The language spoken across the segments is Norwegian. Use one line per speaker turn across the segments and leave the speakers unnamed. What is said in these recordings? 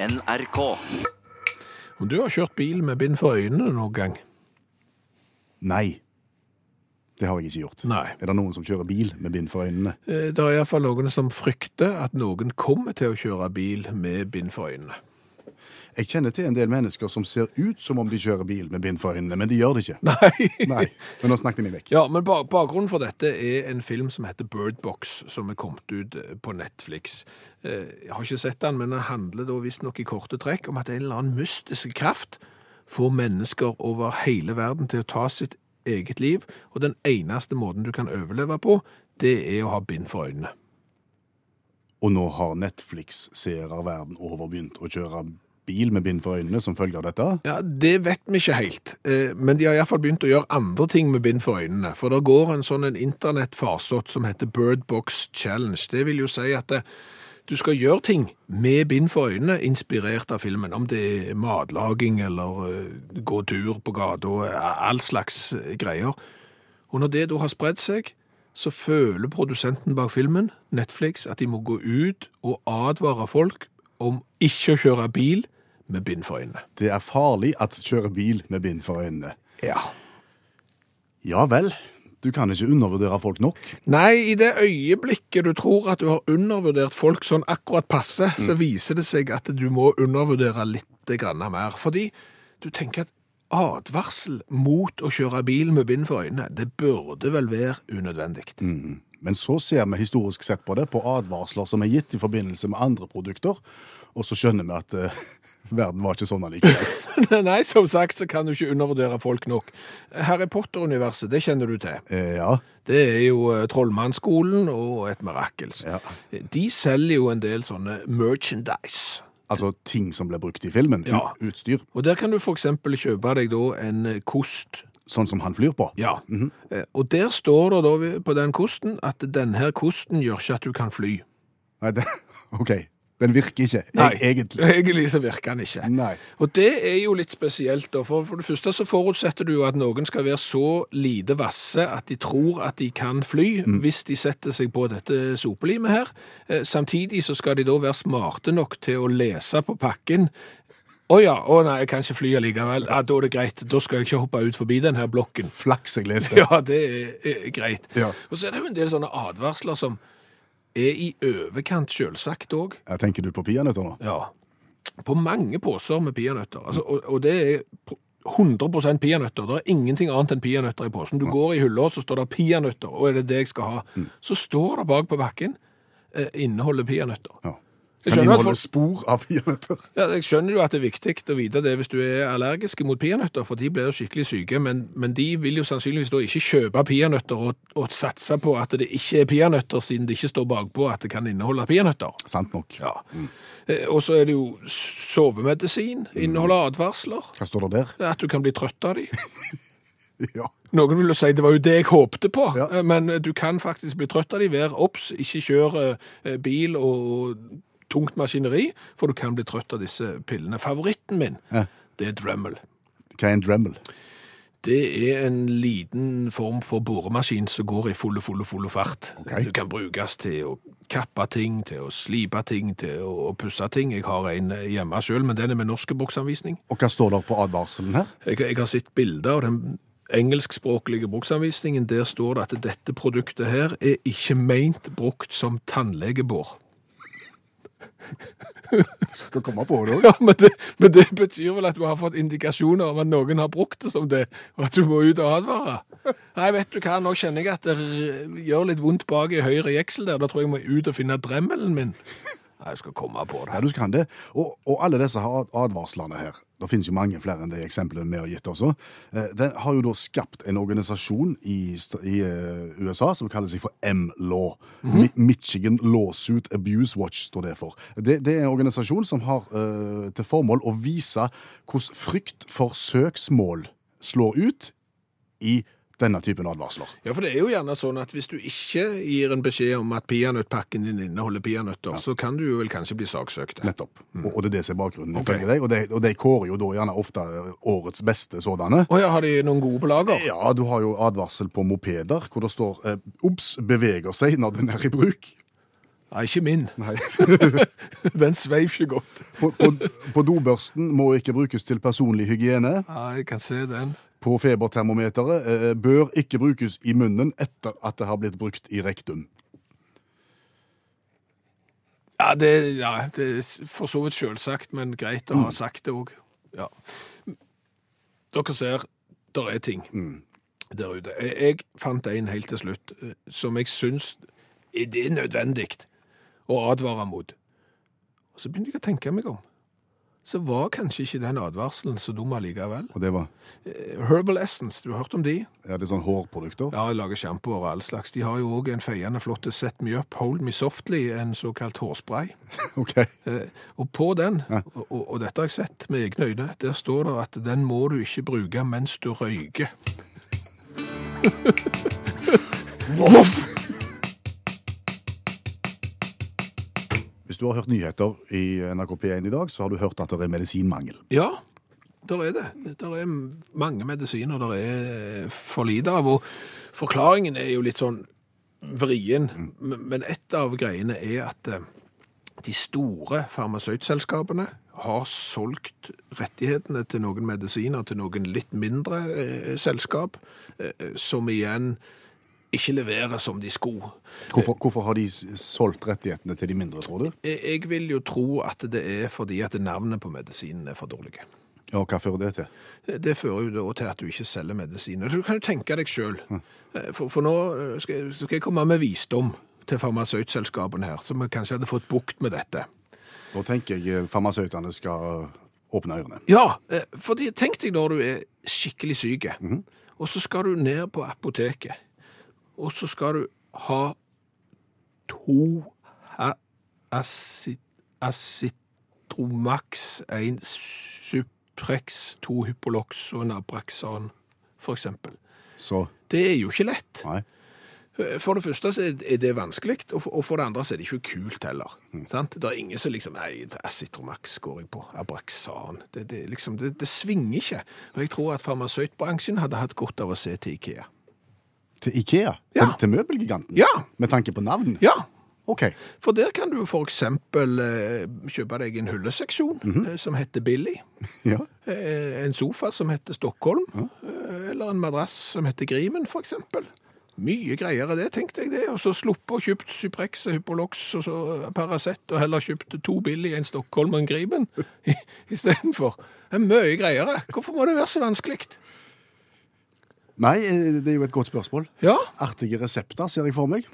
NRK.
Om du har kjørt bil med bind for øynene noen gang?
Nei. Det har jeg ikke gjort.
Nei.
Er det noen som kjører bil med bind for øynene?
Eh, Det er iallfall noen som frykter at noen kommer til å kjøre bil med bind for øynene.
Jeg kjenner til en del mennesker som ser ut som om de kjører bil med bind for øynene, men de gjør det ikke.
Nei.
Nei, men nå snakket jeg meg vekk.
Ja, men bak bakgrunnen for dette er en film som heter Bird Box, som er kommet ut eh, på Netflix. Eh, Jeg har ikke sett den, men den handler da visstnok i korte trekk om at en eller annen mystisk kraft får mennesker over hele verden til å ta sitt eget liv, og den eneste måten du kan overleve på, det er å ha bind for øynene.
Og nå har Netflix-seere verden over begynt å kjøre bil med bind for øynene som følge av dette.
Ja, Det vet vi ikke helt, eh, men de har iallfall begynt å gjøre andre ting med bind for øynene. For det går en sånn en internettfarsott som heter Bird Box Challenge. Det vil jo si at eh, du skal gjøre ting med bind for øynene, inspirert av filmen. Om det er matlaging eller eh, gå tur på gata, eh, all slags eh, greier. Og når det da har spredd seg, så føler produsenten bak filmen, Netflix, at de må gå ut og advare folk om ikke å kjøre bil med bind for øynene.
Det er farlig at kjører bil med bind for øynene.
Ja.
Ja vel, du kan ikke undervurdere folk nok.
Nei, i det øyeblikket du tror at du har undervurdert folk sånn akkurat passe, så viser det seg at du må undervurdere litt grann mer. Fordi du tenker at advarsel mot å kjøre bil med bind for øynene, det burde vel være unødvendig.
Men så ser vi historisk sett på det, på advarsler som er gitt i forbindelse med andre produkter, og så skjønner vi at eh, verden var ikke sånn allikevel.
Nei, som sagt så kan du ikke undervurdere folk nok. Harry Potter-universet, det kjenner du til.
Eh, ja,
Det er jo eh, Trollmannsskolen og et mirakels.
Ja.
De selger jo en del sånne merchandise.
altså ting som ble brukt i filmen, u-
Ja.
utstyr,
Og der kan du for eksempel kjøpe deg da en eh, kost
sånn som han flyr på.
Ja. Eh, Og der står det da på den kosten at denne kosten gjør ikke at du kan fly.
Nei, det, ok, den virker ikke, e- egentlig. Mm.
Egentlig så virker den ikke.
Nei.
Og det er jo litt spesielt, da. For, for det første så forutsetter du jo at noen skal være så lite vasse at de tror at de kan fly, hvis de setter seg på dette sopelimet her. Eh, Samtidig så skal de da være smarte nok til å lese på pakken å ja, å nei, jeg kan ikke fly allikevel. Ja, da er det greit. Da skal jeg ikke hoppe ut forbi denne blokken.
Flaks jeg leste.
Ja, det er, er greit.
Ja.
Og så er det jo en del sånne advarsler som er i overkant selvsagt òg.
Jeg tenker du på pianøtter nå?
Ja. På mange poser med peanøtter. Altså, og, og det er pro- 100 peanøtter. Det er ingenting annet enn peanøtter i posen. Du går i hylla, så står det peanøtter, og er det det jeg skal ha? Så står det bak på bakken eh, inneholder peanøtter.
Ja.
Jeg
Kan
skjønner at
inneholde
folk-
spor av pianøtter?
Ja, jeg skjønner jo at det er viktig å vite det hvis du er allergisk mot peanøtter, for de blir jo skikkelig syke, men, men de vil jo sannsynligvis da ikke kjøpe peanøtter og, og satse på at det ikke er peanøtter, siden det ikke står bakpå at det kan inneholde peanøtter.
Sant nok.
Ja. Eh, Og så er det jo sovemedisin, inneholder advarsler,
Hva står det der?
at du kan bli trøtt av de.
Ja.
Noen vil jo si det var jo det jeg håpte på,
Ja.
eh, men du kan faktisk bli trøtt av de. Vær obs, ikke kjør eh, bil og tungt maskineri, for du kan bli trøtt av disse pillene. Favoritten min,
Ja.
det er Dremel.
Hva er en Dremel?
Det er en liten form for boremaskin som går i fulle, fulle, fulle fart.
Ok.
Du kan brukes til å kappe ting, til å slipe ting, til å pusse ting. Jeg har en eh, hjemme sjøl, men den er med norske bruksanvisning.
Og hva står det på advarselen her?
Jeg, jeg har sett bilder av den engelskspråklige bruksanvisningen. Der står det at dette produktet her er ikke meint brukt som tannlegebår.
Skal komme på det òg.
Ja, men det, men det betyr vel at du har fått indikasjoner om at noen har brukt det som det, og at du må ut og advare. Nei, vet du hva, nå kjenner jeg at det r- gjør litt vondt bak i høyre jeksel der. Da tror jeg jeg må ut og finne dremmelen min. Nei, jeg skal komme på
Ja,
det.
du kan det. Og, og alle disse her advarslene her, det finnes jo mange flere enn de eksemplene vi har gitt også, Eh, den har jo da skapt en organisasjon i, st- i eh, USA som kaller seg for M-Law. Mi- Michigan Lawsuit Abuse Watch står det for. Det, det er en organisasjon som har eh, til formål å vise hvordan frykt for søksmål slår ut i denne typen advarsler.
Ja, for det er jo gjerne sånn at hvis du ikke gir en beskjed om at peanøttpakken din inneholder peanøtter, så kan du jo vel kanskje bli saksøkt.
Nettopp. Og, og det er det som er bakgrunnen,
Ok.
ifølge deg. Og de, og de kårer jo da gjerne ofte eh, årets beste sådanne.
Å ja, har de noen gode på lager?
Ja, du har jo advarsel på mopeder, hvor det står eh, 'obs, beveger seg når den er i bruk'.
Nei, ikke min.
Nei.
Den sveiv ikke godt.
På, på, på dobørsten må ikke brukes til personlig hygiene.
Nei, jeg kan se den.
På febertermometeret eh, bør ikke brukes i munnen etter at det har blitt brukt i rektum.
Ja, det, ja, det er for så vidt selvsagt, men greit å ha sagt det òg. Ja. Dere ser, der er ting der ute. Jeg, jeg fant en helt til slutt eh, som jeg syns er det er nødvendig å advare mot. Og så begynte jeg å tenke meg om. Så var kanskje ikke den advarselen så dum allikevel.
Og det var
Eh, Herbal Essence, du har hørt om de?
ja, det er sånn hårprodukter.
Ja, jeg lager sjampoer og all slags. De har jo òg en feiende flott Set Me Up, Hold Me Softly, en såkalt hårspray.
Ok.
Eh, Og på den,
Ja.
og, og og dette har jeg sett med egne øyne, der står det at den må du ikke bruke mens du røyker.
Hvis du har hørt nyheter i NRK P1 i dag, så har du hørt at det er medisinmangel.
Ja, der er det. Der er mange medisiner der er for lite av, og forklaringen er jo litt sånn vrien, men men et av greiene er at eh, de store farmasøytselskapene har solgt rettighetene til noen medisiner til noen litt mindre eh, selskap, eh, som igjen ikke leverer som de skulle.
Hvorfor, hvorfor har de s- solgt rettighetene til de mindre, tror du?
Jeg jeg vil jo tro at det er fordi at navnet på medisinen er for dårlige.
Ja, hva fører det til?
Det fører jo da til at du ikke selger medisin. Og Du kan jo tenke deg sjøl. For, for nå eh, skal jeg, skal jeg komme med visdom til farmasøytselskapene her, som kanskje hadde fått bukt med dette.
Da tenker jeg eh, farmasøytene skal åpne ørene.
Ja, eh, fordi tenk deg når du er skikkelig syk, og så skal du ned på apoteket, og så skal du ha to a- acit- Acitromax, en Suprex, to Hypolox og en Abraxan, for eksempel.
Så
Det er jo ikke lett.
nei.
For det første så er det vanskelig, og for- og for det andre så er det ikke kult heller. Sant? Det er ingen som liksom Nei, det er Acitromax går jeg på. Abraxan. Det, det, er liksom, det, det svinger ikke. Og jeg tror at farmasøytbransjen hadde hatt godt av å se til Ikea.
Til Ikea?
Ja.
Til, til møbelgiganten?
Ja.
Med tanke på navn?
Ja,
Ok.
for der kan du for eksempel eh, kjøpe deg en hylleseksjon eh, som heter Billy.
Ja.
Eh, en sofa som heter Stockholm, eh, eller en madrass som heter Grimen, for eksempel. Mye greiere det, tenkte jeg det, og så sluppet og kjøpt Suprex, Hypolox og så Paracet, og heller kjøpt to billig, en Stockholm og en Grimen, i, i stedet for. Det er mye greiere. Hvorfor må det være så vanskelig?
Nei, eh, det er jo et godt spørsmål.
Ja,
Artige resepter ser jeg for meg.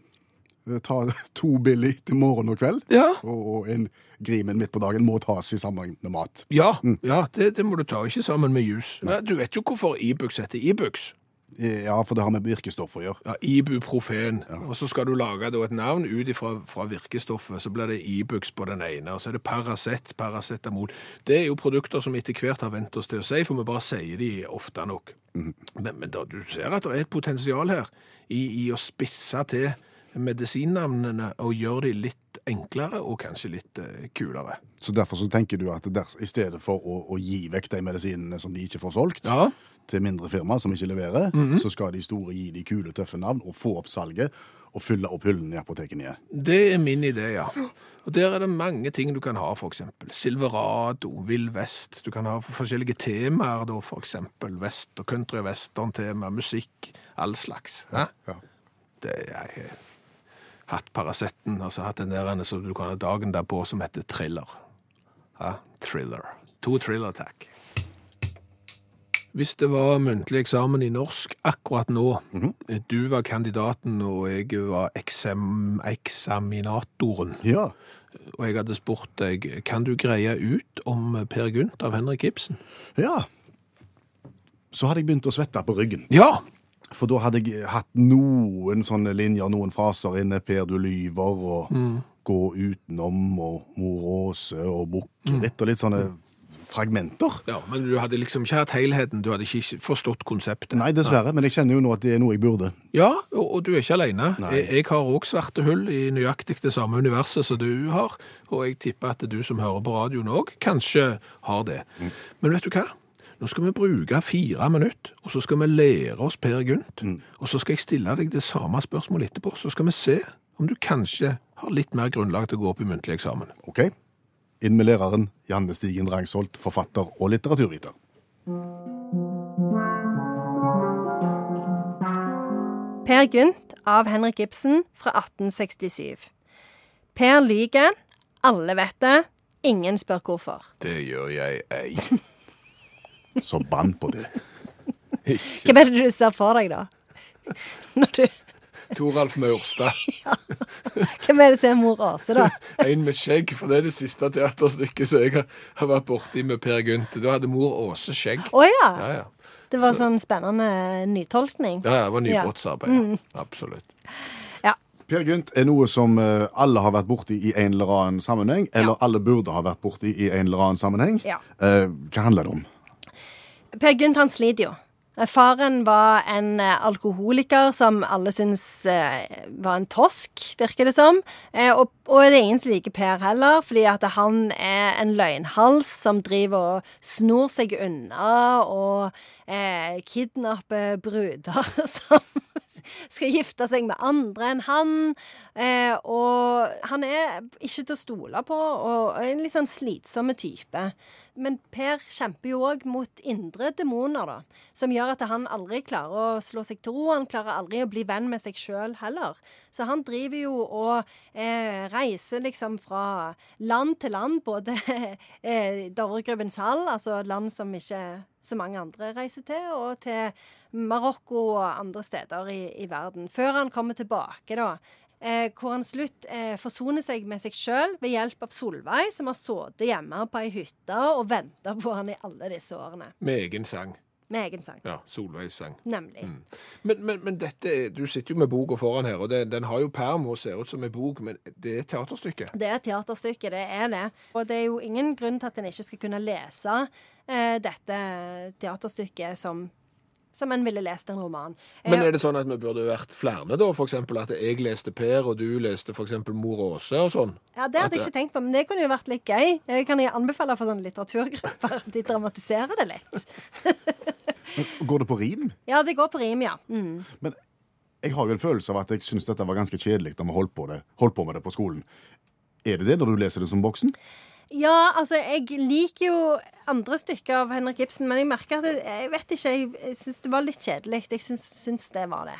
Eh, Ta to billig til morgen og kveld.
ja,
Og, og en grimen midt på dagen må tas i sammenheng med mat.
ja, ja, det, det må du ta, ikke sammen med jus. Nei, Du vet jo hvorfor Ibux heter Ibux.
Eh, Ja, for det har med virkestoff å gjøre.
Ja, ibuprofen. Og så skal du lage da, et navn ut ifra, fra virkestoffet. Så blir det Ibux på den ene, og så er det Paracet, paracetamol. Det er jo produkter som etter hvert har vent oss til å si, for vi bare sier de ofte nok. Men, men da, du ser at det er et potensial her i, i å spisse til medisinnavnene og gjøre de litt enklere og kanskje litt eh, kulere.
Så derfor så tenker du at ders, i stedet for å, å gi vekk de medisinene som de ikke får solgt,
Ja, Mhm.
til mindre firma som ikke leverer, så skal de store gi de kule, tøffe navn og få opp salget og fylle opp hyllene i apotekene igjen.
Det er min idé, ja. Og der er det mange ting du kan ha, for eksempel. Silverado, Vill Vest, du kan ha forskjellige temaer da, for eksempel. Vest og country og western tema, musikk, all slags. Hæ?
Ja.
Det er eh, jeg har hatt Paracetten, altså hatt den der ene som du kan ha dagen derpå som heter Thriller. Hæ? Thriller. To thriller, takk. Hvis det var muntlig eksamen i norsk akkurat nå, eh, du var kandidaten og jeg var eksam eksaminatoren,
Ja,
og jeg hadde spurt deg, kan du greie ut om Per Gynt av Henrik Ibsen?
ja. Så hadde jeg begynt å svette på ryggen.
Ja!
For da hadde jeg hatt noen sånne linjer, noen fraser inne. Per, du lyver, og gå utenom, og mor Åse, og bukkeritt, og litt sånne fragmenter.
Ja, men du hadde liksom ikke hatt helheten, du hadde ikke forstått konseptet.
Nei, dessverre, men jeg kjenner jo nå at det er noe jeg burde.
Ja, og, og du er ikke alene.
Nei.
Jeg, jeg har òg svarte hull i nøyaktig det samme universet som du har, og jeg tipper at du som hører på radioen òg, kanskje har det. Men vet du hva? Nå skal vi bruke fire minutter, og så skal vi lære oss Mm. Per Gynt. Og så skal jeg stille deg det samme spørsmålet etterpå, så skal vi se om du kanskje har litt mer grunnlag til å gå opp i muntlig eksamen.
Ok? Inn med læreren Janne Stigen Drangsholt, forfatter og litteraturviter.
Per Gynt av Henrik Ibsen fra 1867. Per lyger, alle vet det, ingen spør hvorfor.
Det gjør jeg ei.
Så bann på det.
Hva er det du ser for deg, da? Når du,
Toralf Maurstad.
hvem er det til mor Åse, da?
En med skjegg, for det er det siste teaterstykket som jeg har- har vært borti med Per Gynt. Da hadde mor Åse skjegg.
Å
Ja,
ja!
ja.
Det var sånn spennende nytolkning.
Ja, ja, det var nybrottsarbeid. Absolutt.
Ja.
Per Gynt er noe som eh, alle har vært borti i en eller annen sammenheng, eller alle burde ha vært borti i en eller annen sammenheng.
Ja.
Eh, hva handler det om?
Per Gynt han sliter jo. Eh, Faren var en eh, alkoholiker som alle syns eh, var en tosk, virker det som. Eh, og, og det er ingen som liker Per heller, fordi at han er en løgnhals som driver og snor seg unna og eh, kidnapper bruder som skal gifte seg med andre enn han. Eh, og han er ikke til å stole på, og er en litt sånn slitsomme type. Men Per kjemper jo òg mot indre demoner, da. Som gjør at han aldri klarer å slå seg til ro. Han klarer aldri å bli venn med seg sjøl heller. Så han driver jo og eh, reiser liksom fra land til land, både eh, Dovregrubbens hall, altså land som ikke så mange andre reiser til, og til Marokko og andre steder i, i verden. Før han kommer tilbake, da. Eh, hvor han slutt eh, forsoner seg med seg sjøl ved hjelp av Solveig, som har sittet hjemme på ei hytte og venta på han i alle disse årene.
Med egen sang.
Med egen sang,
Ja, Solveigs sang.
nemlig.
Mm. Men, men, men dette er, du sitter jo med boka foran her, og det, den har jo perm og ser ut som en bok, men det er et teaterstykke.
Det er et teaterstykke, det er det. Og det er jo ingen grunn til at en ikke skal kunne lese eh, dette teaterstykket som, som en ville lest en roman. Eh,
Men er det sånn at vi burde vært flere da, for eksempel at jeg leste Per, og du leste for eksempel Mor Åse og sånn?
Ja, Det
At
hadde jeg ikke tenkt på, men det kunne jo vært litt gøy. Jeg kan jeg anbefale for sånne litteraturgrupper at de dramatiserer det litt.
Går det på rim?
Ja, det går på rim, ja. Mm.
Men jeg har jo en følelse av at jeg syns dette var ganske kjedelig da vi holdt på, det, holdt på med det på skolen. Er det det når du leser det som voksen?
Ja, altså, jeg liker jo andre stykker av Henrik Ibsen, men jeg merker at jeg, jeg vet ikke, jeg, jeg syns det var litt kjedelig. Jeg syns, syns det var det.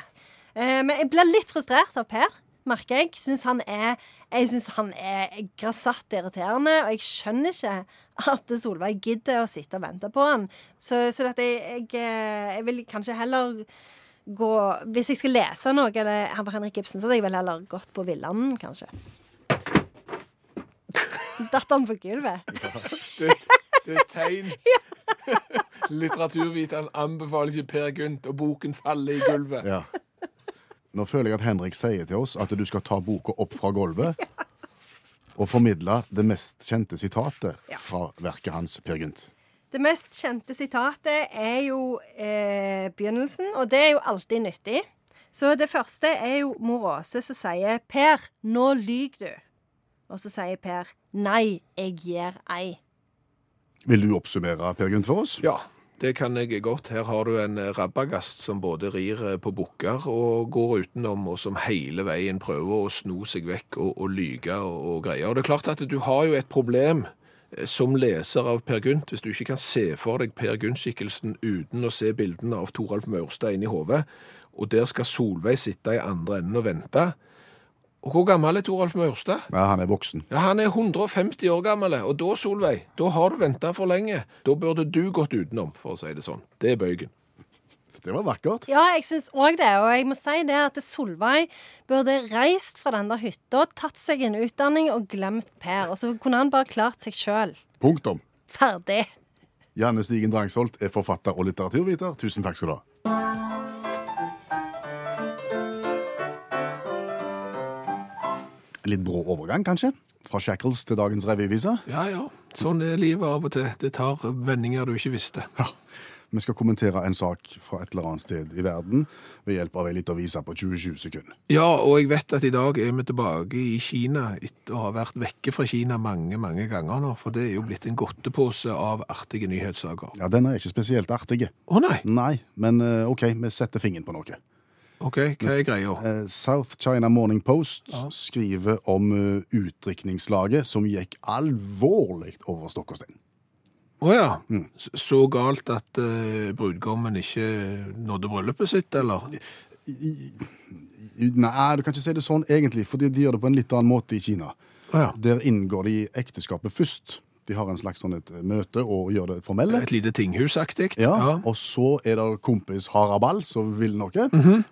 Eh, men jeg blir litt frustrert av Per, merker jeg. Syns han er, jeg syns han er grasatt irriterende, og jeg skjønner ikke at Solveig gidder å sitte og vente på han. Så, så dette, jeg, jeg, eh, jeg vil kanskje heller gå Hvis jeg skal lese noe eller, av Henrik Ibsen, så hadde jeg vel heller gått på Villanden, kanskje. Datt han på gulvet?
Det, det er et tegn. Litteraturviteren anbefaler ikke Per Gynt, og boken faller i gulvet.
Ja. Nå føler jeg at Henrik sier til oss at du skal ta boka opp fra gulvet og formidle det mest kjente sitatet
Ja.
fra verket hans, Per Gynt.
Det mest kjente sitatet er jo eh, begynnelsen, og det er jo alltid nyttig. Så det første er jo mor Åse som sier 'Per, nå lyver du'. Og så sier Per 'Nei, jeg gjør ei'.
Vil du oppsummere Per Gynt for oss?
Ja, det kan jeg godt. Her har du en eh, rabagast som både rir eh, på bukker og går utenom, og som hele veien prøver å sno seg vekk og, og lyge og, og greier. Og det er klart at du har jo et problem eh, som leser av Per Gynt, hvis du ikke kan se for deg Per Gynt-skikkelsen uten å se bildene av Toralf Maurstad inni hodet, og der skal Solveig sitte i andre enden og vente. Og hvor gammel er Toralf Maurstad?
Ja, han er voksen.
Ja, Han er 150 år gammel, og da, Solveig, da har du venta for lenge. Da burde du gått utenom, for å si det sånn. Det er bøygen.
Det var vakkert.
Ja, jeg syns òg det. Og jeg må si det at Solveig burde reist fra den der hytta, tatt seg en utdanning og glemt Per. Og så kunne han bare klart seg sjøl.
Punktum.
Ferdig.
Janne Stigen Drangsholt er forfatter og litteraturviter. Tusen takk skal du ha. Litt brå overgang, kanskje? Fra Shackles til dagens revyvise.
Ja, ja. Sånn er livet av og til. Det tar vendinger du ikke visste.
Ja. Vi skal kommentere en sak fra et eller annet sted i verden ved hjelp av ei lita vise på 27 sekunder.
Ja, og jeg vet at i dag er vi tilbake i Kina etter å ha vært vekke fra Kina mange, mange ganger nå. For det er jo blitt en godtepose av artige nyhetssaker.
Ja, Den er ikke spesielt artig.
Å nei!
Nei, men eh, OK, vi setter fingeren på noe.
Å OK, hva er greia?
Eh, South China Morning Post skriver om eh, utdrikningslaget som gikk alvorlig over stokk og stein.
Å ja. S- Så galt at eh, brudgommen ikke nådde bryllupet sitt, eller?
I- i- Nei, du kan ikke si det sånn egentlig, fordi de gjør det på en litt annen måte i Kina.
Å ja.
Der inngår de ekteskapet først. De har en slags sånn et møte og gjør det formelle.
Et lite tinghusaktig?
Ja, Og så er det kompis haraball som vil noe,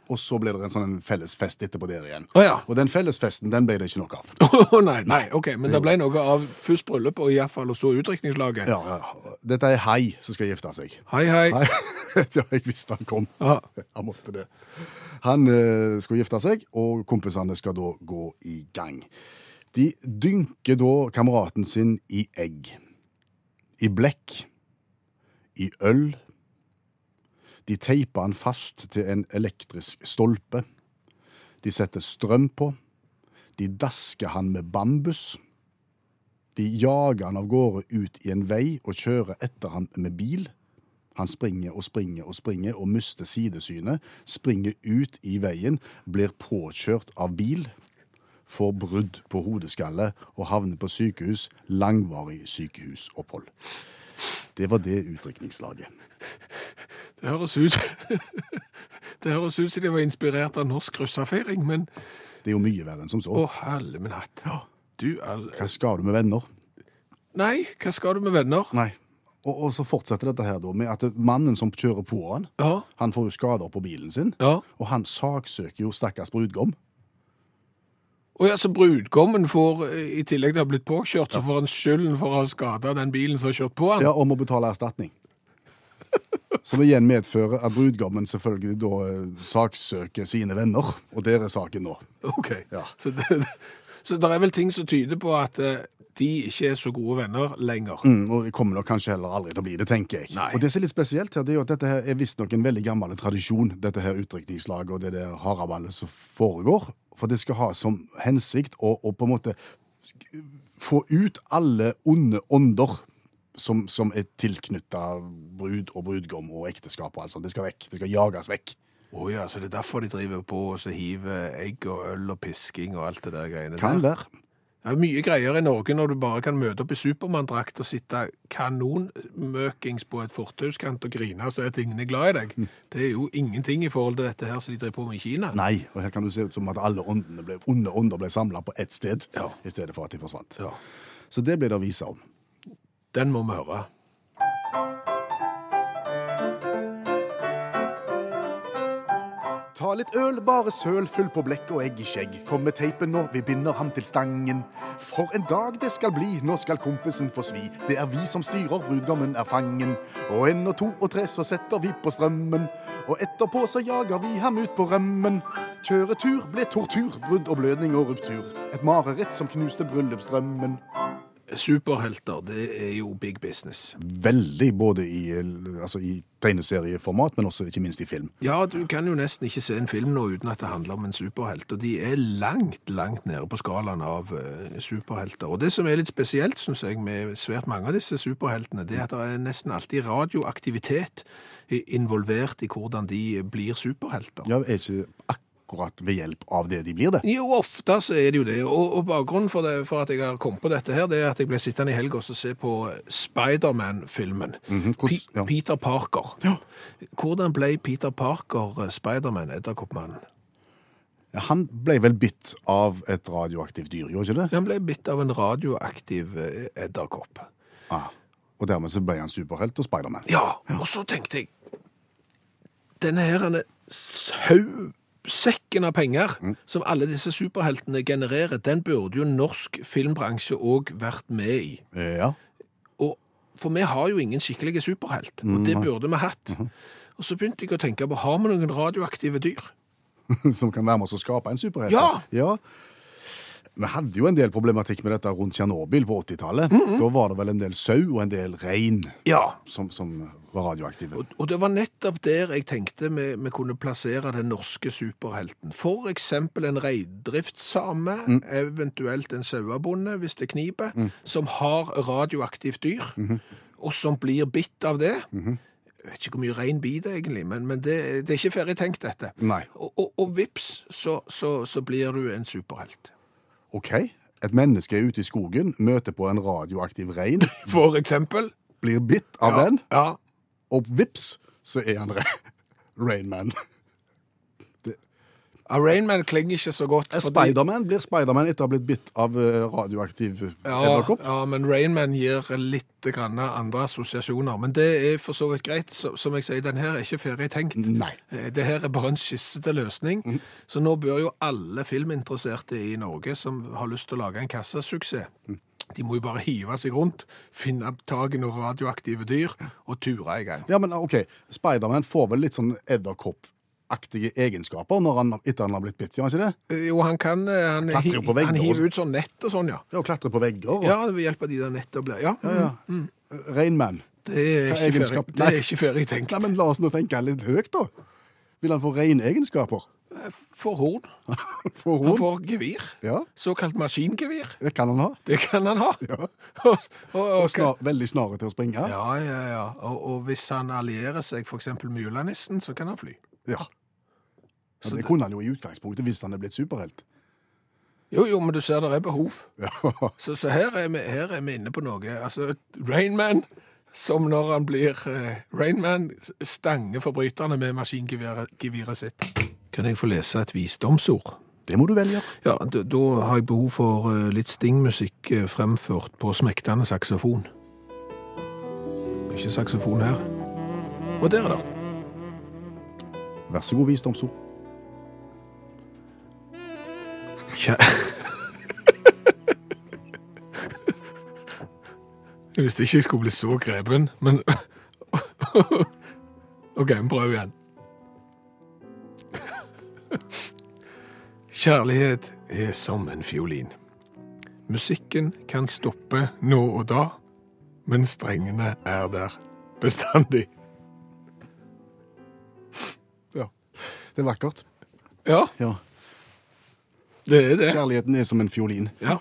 og så blir det en sånn en fellesfest etterpå der igjen.
Å ja.
Og den fellesfesten den ble det ikke noe av.
Å nei, nei, ok, men det ble noe av først bryllupet, og iallfall så utdrikningslaget.
Ja, ja. Dette er Hei som skal gifte seg.
Hei, hei.
Hei. ja, jeg visste han kom.
Ja.
Han måtte det. Han eh, skal gifte seg, og kompisene skal da gå i gang. De dynker da kameraten sin i egg. I blekk. I øl. De teiper han fast til en elektrisk stolpe. De setter strøm på. De dasker han med bambus. De jager han av gårde ut i en vei og kjører etter han med bil. Han springer og springer og springer og mister sidesynet, springer ut i veien, blir påkjørt av bil, får brudd på hodeskallet og havner på sykehus, langvarig sykehusopphold. Det var det utdrikningslaget.
Det høres ut Det høres ut som de var inspirert av norsk russafeiring, men
Det er jo mye verre enn som
Å,
så.
helle min hatt. Du all
Hva skal du med venner?
Nei, hva skal du med venner?
Nei. Og, og så fortsetter dette her da med at mannen som kjører på han,
Ja.
han får jo skader på bilen sin,
Ja.
og han saksøker jo stakkars brudgom.
Og ja, så brudgommen får, eh, i tillegg til å ha blitt påkjørt, så får han skylden for å ha skada den bilen som har kjørt på han.
Ja, om å betale erstatning. Som igjen medfører at brudgommen selvfølgelig da eh, saksøker sine venner, og der er saken nå.
Ok.
Ja.
Så, det, så det er vel ting som tyder på at eh, de ikke er så gode venner lenger.
Mm, og det kommer nok kanskje heller aldri til å bli det, tenker jeg.
Nei.
Og det som er litt spesielt her, det er jo at dette her er visstnok en veldig gammel tradisjon, dette her utdrikningslaget og det der haraballet som foregår. For det skal ha som hensikt å, å på en måte få ut alle onde ånder. Som, som er tilknytta brud og brudgom og ekteskap og alt sånt. Det skal vekk. Det skal jages vekk.
Å ja, så det er derfor de driver på og så hiver egg og øl og pisking og alt det der greiene
Kan
der.
være.
Det er mye greier i Norge når du bare kan møte opp i Supermann-drakt og sitte kanonmøkings på et fortauskant og grine så er tingene glad i deg. Det er jo ingenting i forhold til dette her som de driver på med i Kina.
Nei, og her kan du se ut som at alle åndene ble, onde ånder ble samla på ett sted,
Ja.
i stedet for at de forsvant.
Ja,
Så det ble det visa om.
den må vi høre.
Ta litt øl, bare søl, fyll på blekk og egg i skjegg. Kom med teipen nå, vi binder ham til stangen. For en dag det skal bli, nå skal kompisen få svi. Det er vi som styrer, brudgommen er fangen. Og en og to og tre, så setter vi på strømmen. Og etterpå så jager vi ham ut på rømmen. Kjøretur ble tortur, brudd og blødning og ruptur. Et mareritt som knuste bryllupsdrømmen.
Superhelter, det er jo big business.
veldig, både i, altså i tegneserieformat, men også ikke minst i film.
Ja, du kan jo nesten ikke se en film nå uten at det handler om en superhelt, og de er langt, langt nede på skalaen av eh, superhelter. Og det som er litt spesielt, synes jeg, med svært mange av disse superheltene, det er at det er nesten alltid radioaktivitet i- involvert i hvordan de blir superhelter.
Ja, er ikke akkurat ved hjelp av det de blir det.
Jo, ofte så er det jo det, og, og bakgrunnen for, det, for at jeg har kommet på dette her, det er at jeg ble sittende i helg og så se på Spider-Man-filmen.
Mhm, hvordan-
Pe-
ja.
Peter Parker. Hvordan ble Peter Parker eh, Spider-Man, edderkoppmannen?
Han ble vel bitt av et radioaktivt dyr, gjorde ikke det?
Han ble bitt av en radioaktiv eh, edderkopp.
Ah. Og dermed så ble han superhelt og Spiderman.
Ja, og så tenkte jeg Denne her denne sausekken av penger som alle disse superheltene genererer, den burde jo norsk filmbransje òg vært med i.
Eh, Ja.
Og, for vi har jo ingen skikkelige superhelt, og det burde vi hatt. Og så begynte jeg å tenke på har vi noen radioaktive dyr.
Som kan være med oss å skape en superhelt.
Ja!
ja. Vi hadde jo en del problematikk med dette rundt Tsjernobyl på 80-tallet. Da var det vel en del sau og en del rein
Ja,
som, som var radioaktive.
Og det var nettopp der jeg tenkte vi, vi kunne plassere den norske superhelten. For eksempel en reindriftssame,
Mm.
eventuelt en sauebonde, hvis det kniper,
Mhm.
som har radioaktivt dyr, og som blir bitt av det. Jeg vet ikke hvor mye rein bit det egentlig, men, men det, det er ikke ferdig tenkt, dette.
Nei.
Og, og, og vips, så, så, så blir du en superhelt.
OK. Et menneske er ute i skogen, møter på en radioaktiv rein,
For eksempel.
blir bitt av den,
Ja.
og vips, så er han re Rainman.
ja Rainman klinger ikke så godt. fordi-
Spiderman blir Spiderman etter å ha blitt bitt av eh, radioaktiv
Ja,
edderkopp.
ja, men Rainman gir litt grann andre assosiasjoner. Men det er for så vidt greit. Så, som jeg sier, den her er ikke ferdig tenkt.
Nei.
Eh, Det her er bare en skissete løsning.
Mm.
Så nå bør jo alle filminteresserte i Norge som har lyst til å lage en kassesuksess,
Mm.
de må jo bare hive seg rundt, finne opp tagen og radioaktive dyr, og ture i gang.
Ja, men OK. Spiderman får vel litt sånn edderkoppaktige egenskaper når han, etter han har blitt bitt, gjør han ikke det?
Eh, Jo, han kan eh, Han,
Klatrer
hi-
jo på vegger
han
og-
hiver ut sånn nett og sånn, ja.
Ja, og klatre på vegger og
Ja, ved hjelp av de der nettene. blir- Ja,
ja. Rainman.
det er ikke
Hva
ferdig,
egenskap?
det er ikke ferdig tenkt.
Nei, men la oss nå tenke litt høyt, da. Vil han få rene egenskaper?
Eh, For horn.
For
Han
hun?
får gevir.
Ja,
Såkalt maskingevir.
det kan han ha.
Det kan han ha.
Ja.
Og, og, og,
Og snar, veldig snare til å springe.
ja, ja, ja. Og, og hvis han allierer seg f.eks. myranissen, så kan han fly.
Ja. Ja, det kunne han jo i utgangspunktet hvis han er blitt superhelt.
Jo, jo, men du ser det er behov.
Ja.
Så, så her, er vi, her er vi inne på noe. Altså, Rainman, som når han blir eh, Rainman, stanger forbryterne med maskingeværet sitt. Kan jeg få lese et visdomsord?
Det må du vel gjøre.
Ja, da, da har jeg behov for eh, litt stingmusikk eh, fremført på smektende saksofon. Det er Ikke saksofon her. Og der er det.
Vær så god, visdomsord.
Kjæ... jeg visste ikke jeg skulle bli så grepen, men OK, vi prøver igjen. Kjærlighet er som en fiolin. Musikken kan stoppe nå og da, men strengene er der bestandig.
Ja. Det er vakkert.
Ja,
Ja.
det er det.
Kjærligheten er som en fiolin.
Ja.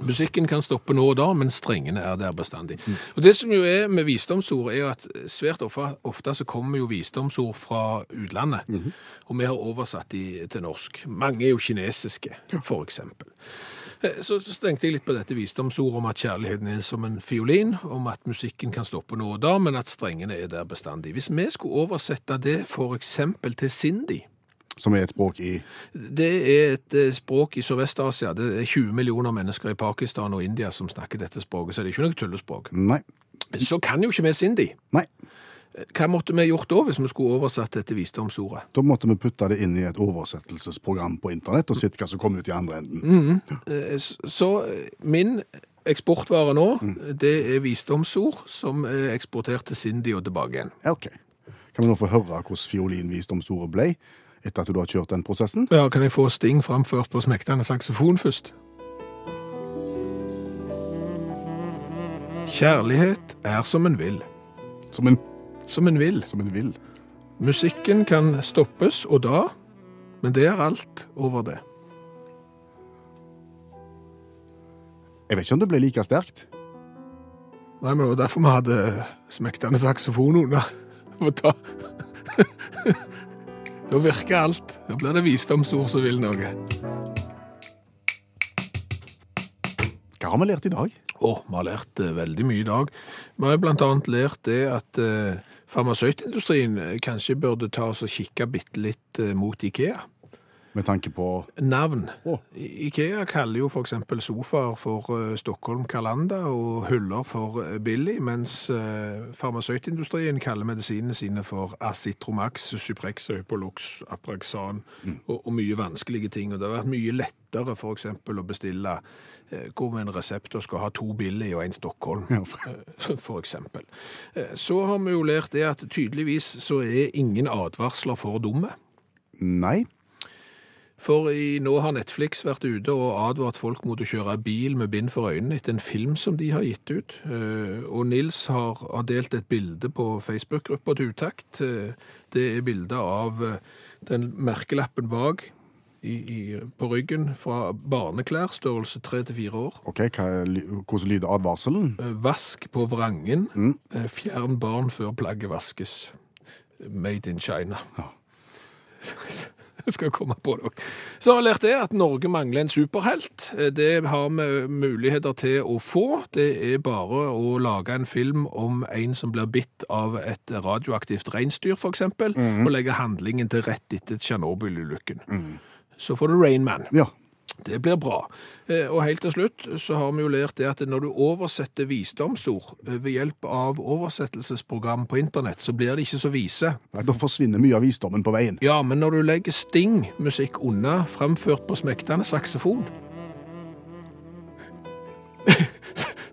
Musikken kan stoppe nå og da, men strengene er der bestandig. Og Det som jo er med visdomsord, er jo at svært ofte, ofte så kommer jo visdomsord fra utlandet. Og vi har oversatt de til norsk. Mange er jo kinesiske, for eksempel. Eh, Så, så tenkte jeg litt på dette visdomsordet om at kjærligheten er som en fiolin, om at musikken kan stoppe nå og da, men at strengene er der bestandig. Hvis vi skulle oversette det for eksempel til Sindi,
Som er et språk i
det er et eh, språk i Sørvest-Asia. Det er 20 millioner mennesker i Pakistan og India som snakker dette språket, så det er ikke noe tullespråk.
Nei.
Så kan jo ikke vi sindi.
Nei.
Hva måtte vi gjort da, hvis vi skulle oversatt dette visdomsordet?
Da måtte vi putte det inn i et oversettelsesprogram på internett og sett hva som kom ut i andre enden.
Eh, s- Så eh, min eksportvare nå, det er visdomsord som er eksportert til Sindi og tilbake igjen.
Ja, OK. Kan vi nå få høre hvordan fiolinvisdomsordet ble etter at du har kjørt den prosessen?
Ja, kan jeg få Sting framført på smektende saksofon først? Kjærlighet er som en vil.
Som en,
Som en vil.
som en vil.
Musikken kan stoppes og da, men det er alt over det.
Jeg vet ikke om det ble like sterkt.
Nei, men det var derfor vi hadde smektende saksofon under. For Da, da virker alt. Da blir det visdomsord som vil noe.
Hva har vi lært i dag?
Å, vi har lært eh, veldig mye i dag. Vi har jo blant annet lært det at eh, farmasøytindustrien eh, kanskje burde ta oss og kikke bitte litt eh, mot Ikea.
Med tanke på
Navn.
Å.
I- Ikea kaller jo f.eks. sofaer for eh, Stockholm Kalanda og hyller for eh, Billy, mens uh, farmasøytindustrien kaller medisinene sine for Acitromax, Suprex, Øypolox, Apraxan og, og mye vanskelige ting. Og det har vært mye lettere f.eks. å bestille eh, hvor en resepter skal ha to Billy og en Stockholm,
Ja.
eh, for eksempel. Eh, Så har vi jo lært det at tydeligvis så er ingen advarsler for dumme.
Nei.
For i, nå har Netflix vært ute og advart folk mot å kjøre bil med bind for øynene etter en film som de har gitt ut. Eh, og Nils har, har delt et bilde på Facebook-gruppa til Utakt. Eh, det er bildet av eh, den merkelappen bak i, i, på ryggen fra barneklær, størrelse tre til fire år.
Ok, hva, er ly- Hvordan lyder advarselen?
Eh, Vask på vrangen. Eh, Fjern barn før plagget vaskes. Made in China. Jeg skal komme på det også. Så har jeg lært det at Norge mangler en superhelt. Eh, Det har vi muligheter til å få. Det er bare å lage en film om en som blir bitt av et radioaktivt reinsdyr, f.eks., eksempel, og legge handlingen til rett etter Tsjernobyl-ulykken. Så får du Rain Man.
Ja.
Det blir bra. Eh, Og helt til slutt så har vi jo lært det at når du oversetter visdomsord eh, ved hjelp av oversettelsesprogram på internett, så blir de ikke så vise.
Nei, Da forsvinner mye av visdommen på veien.
Ja, men når du legger Sting-musikk unna, fremført på smektende saksofon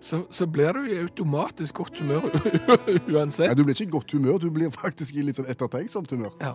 Så, så blir du i automatisk godt humør uansett.
Nei, Du blir ikke i godt humør, du blir faktisk i litt sånn ettertenksomt humør.
Ja. ja.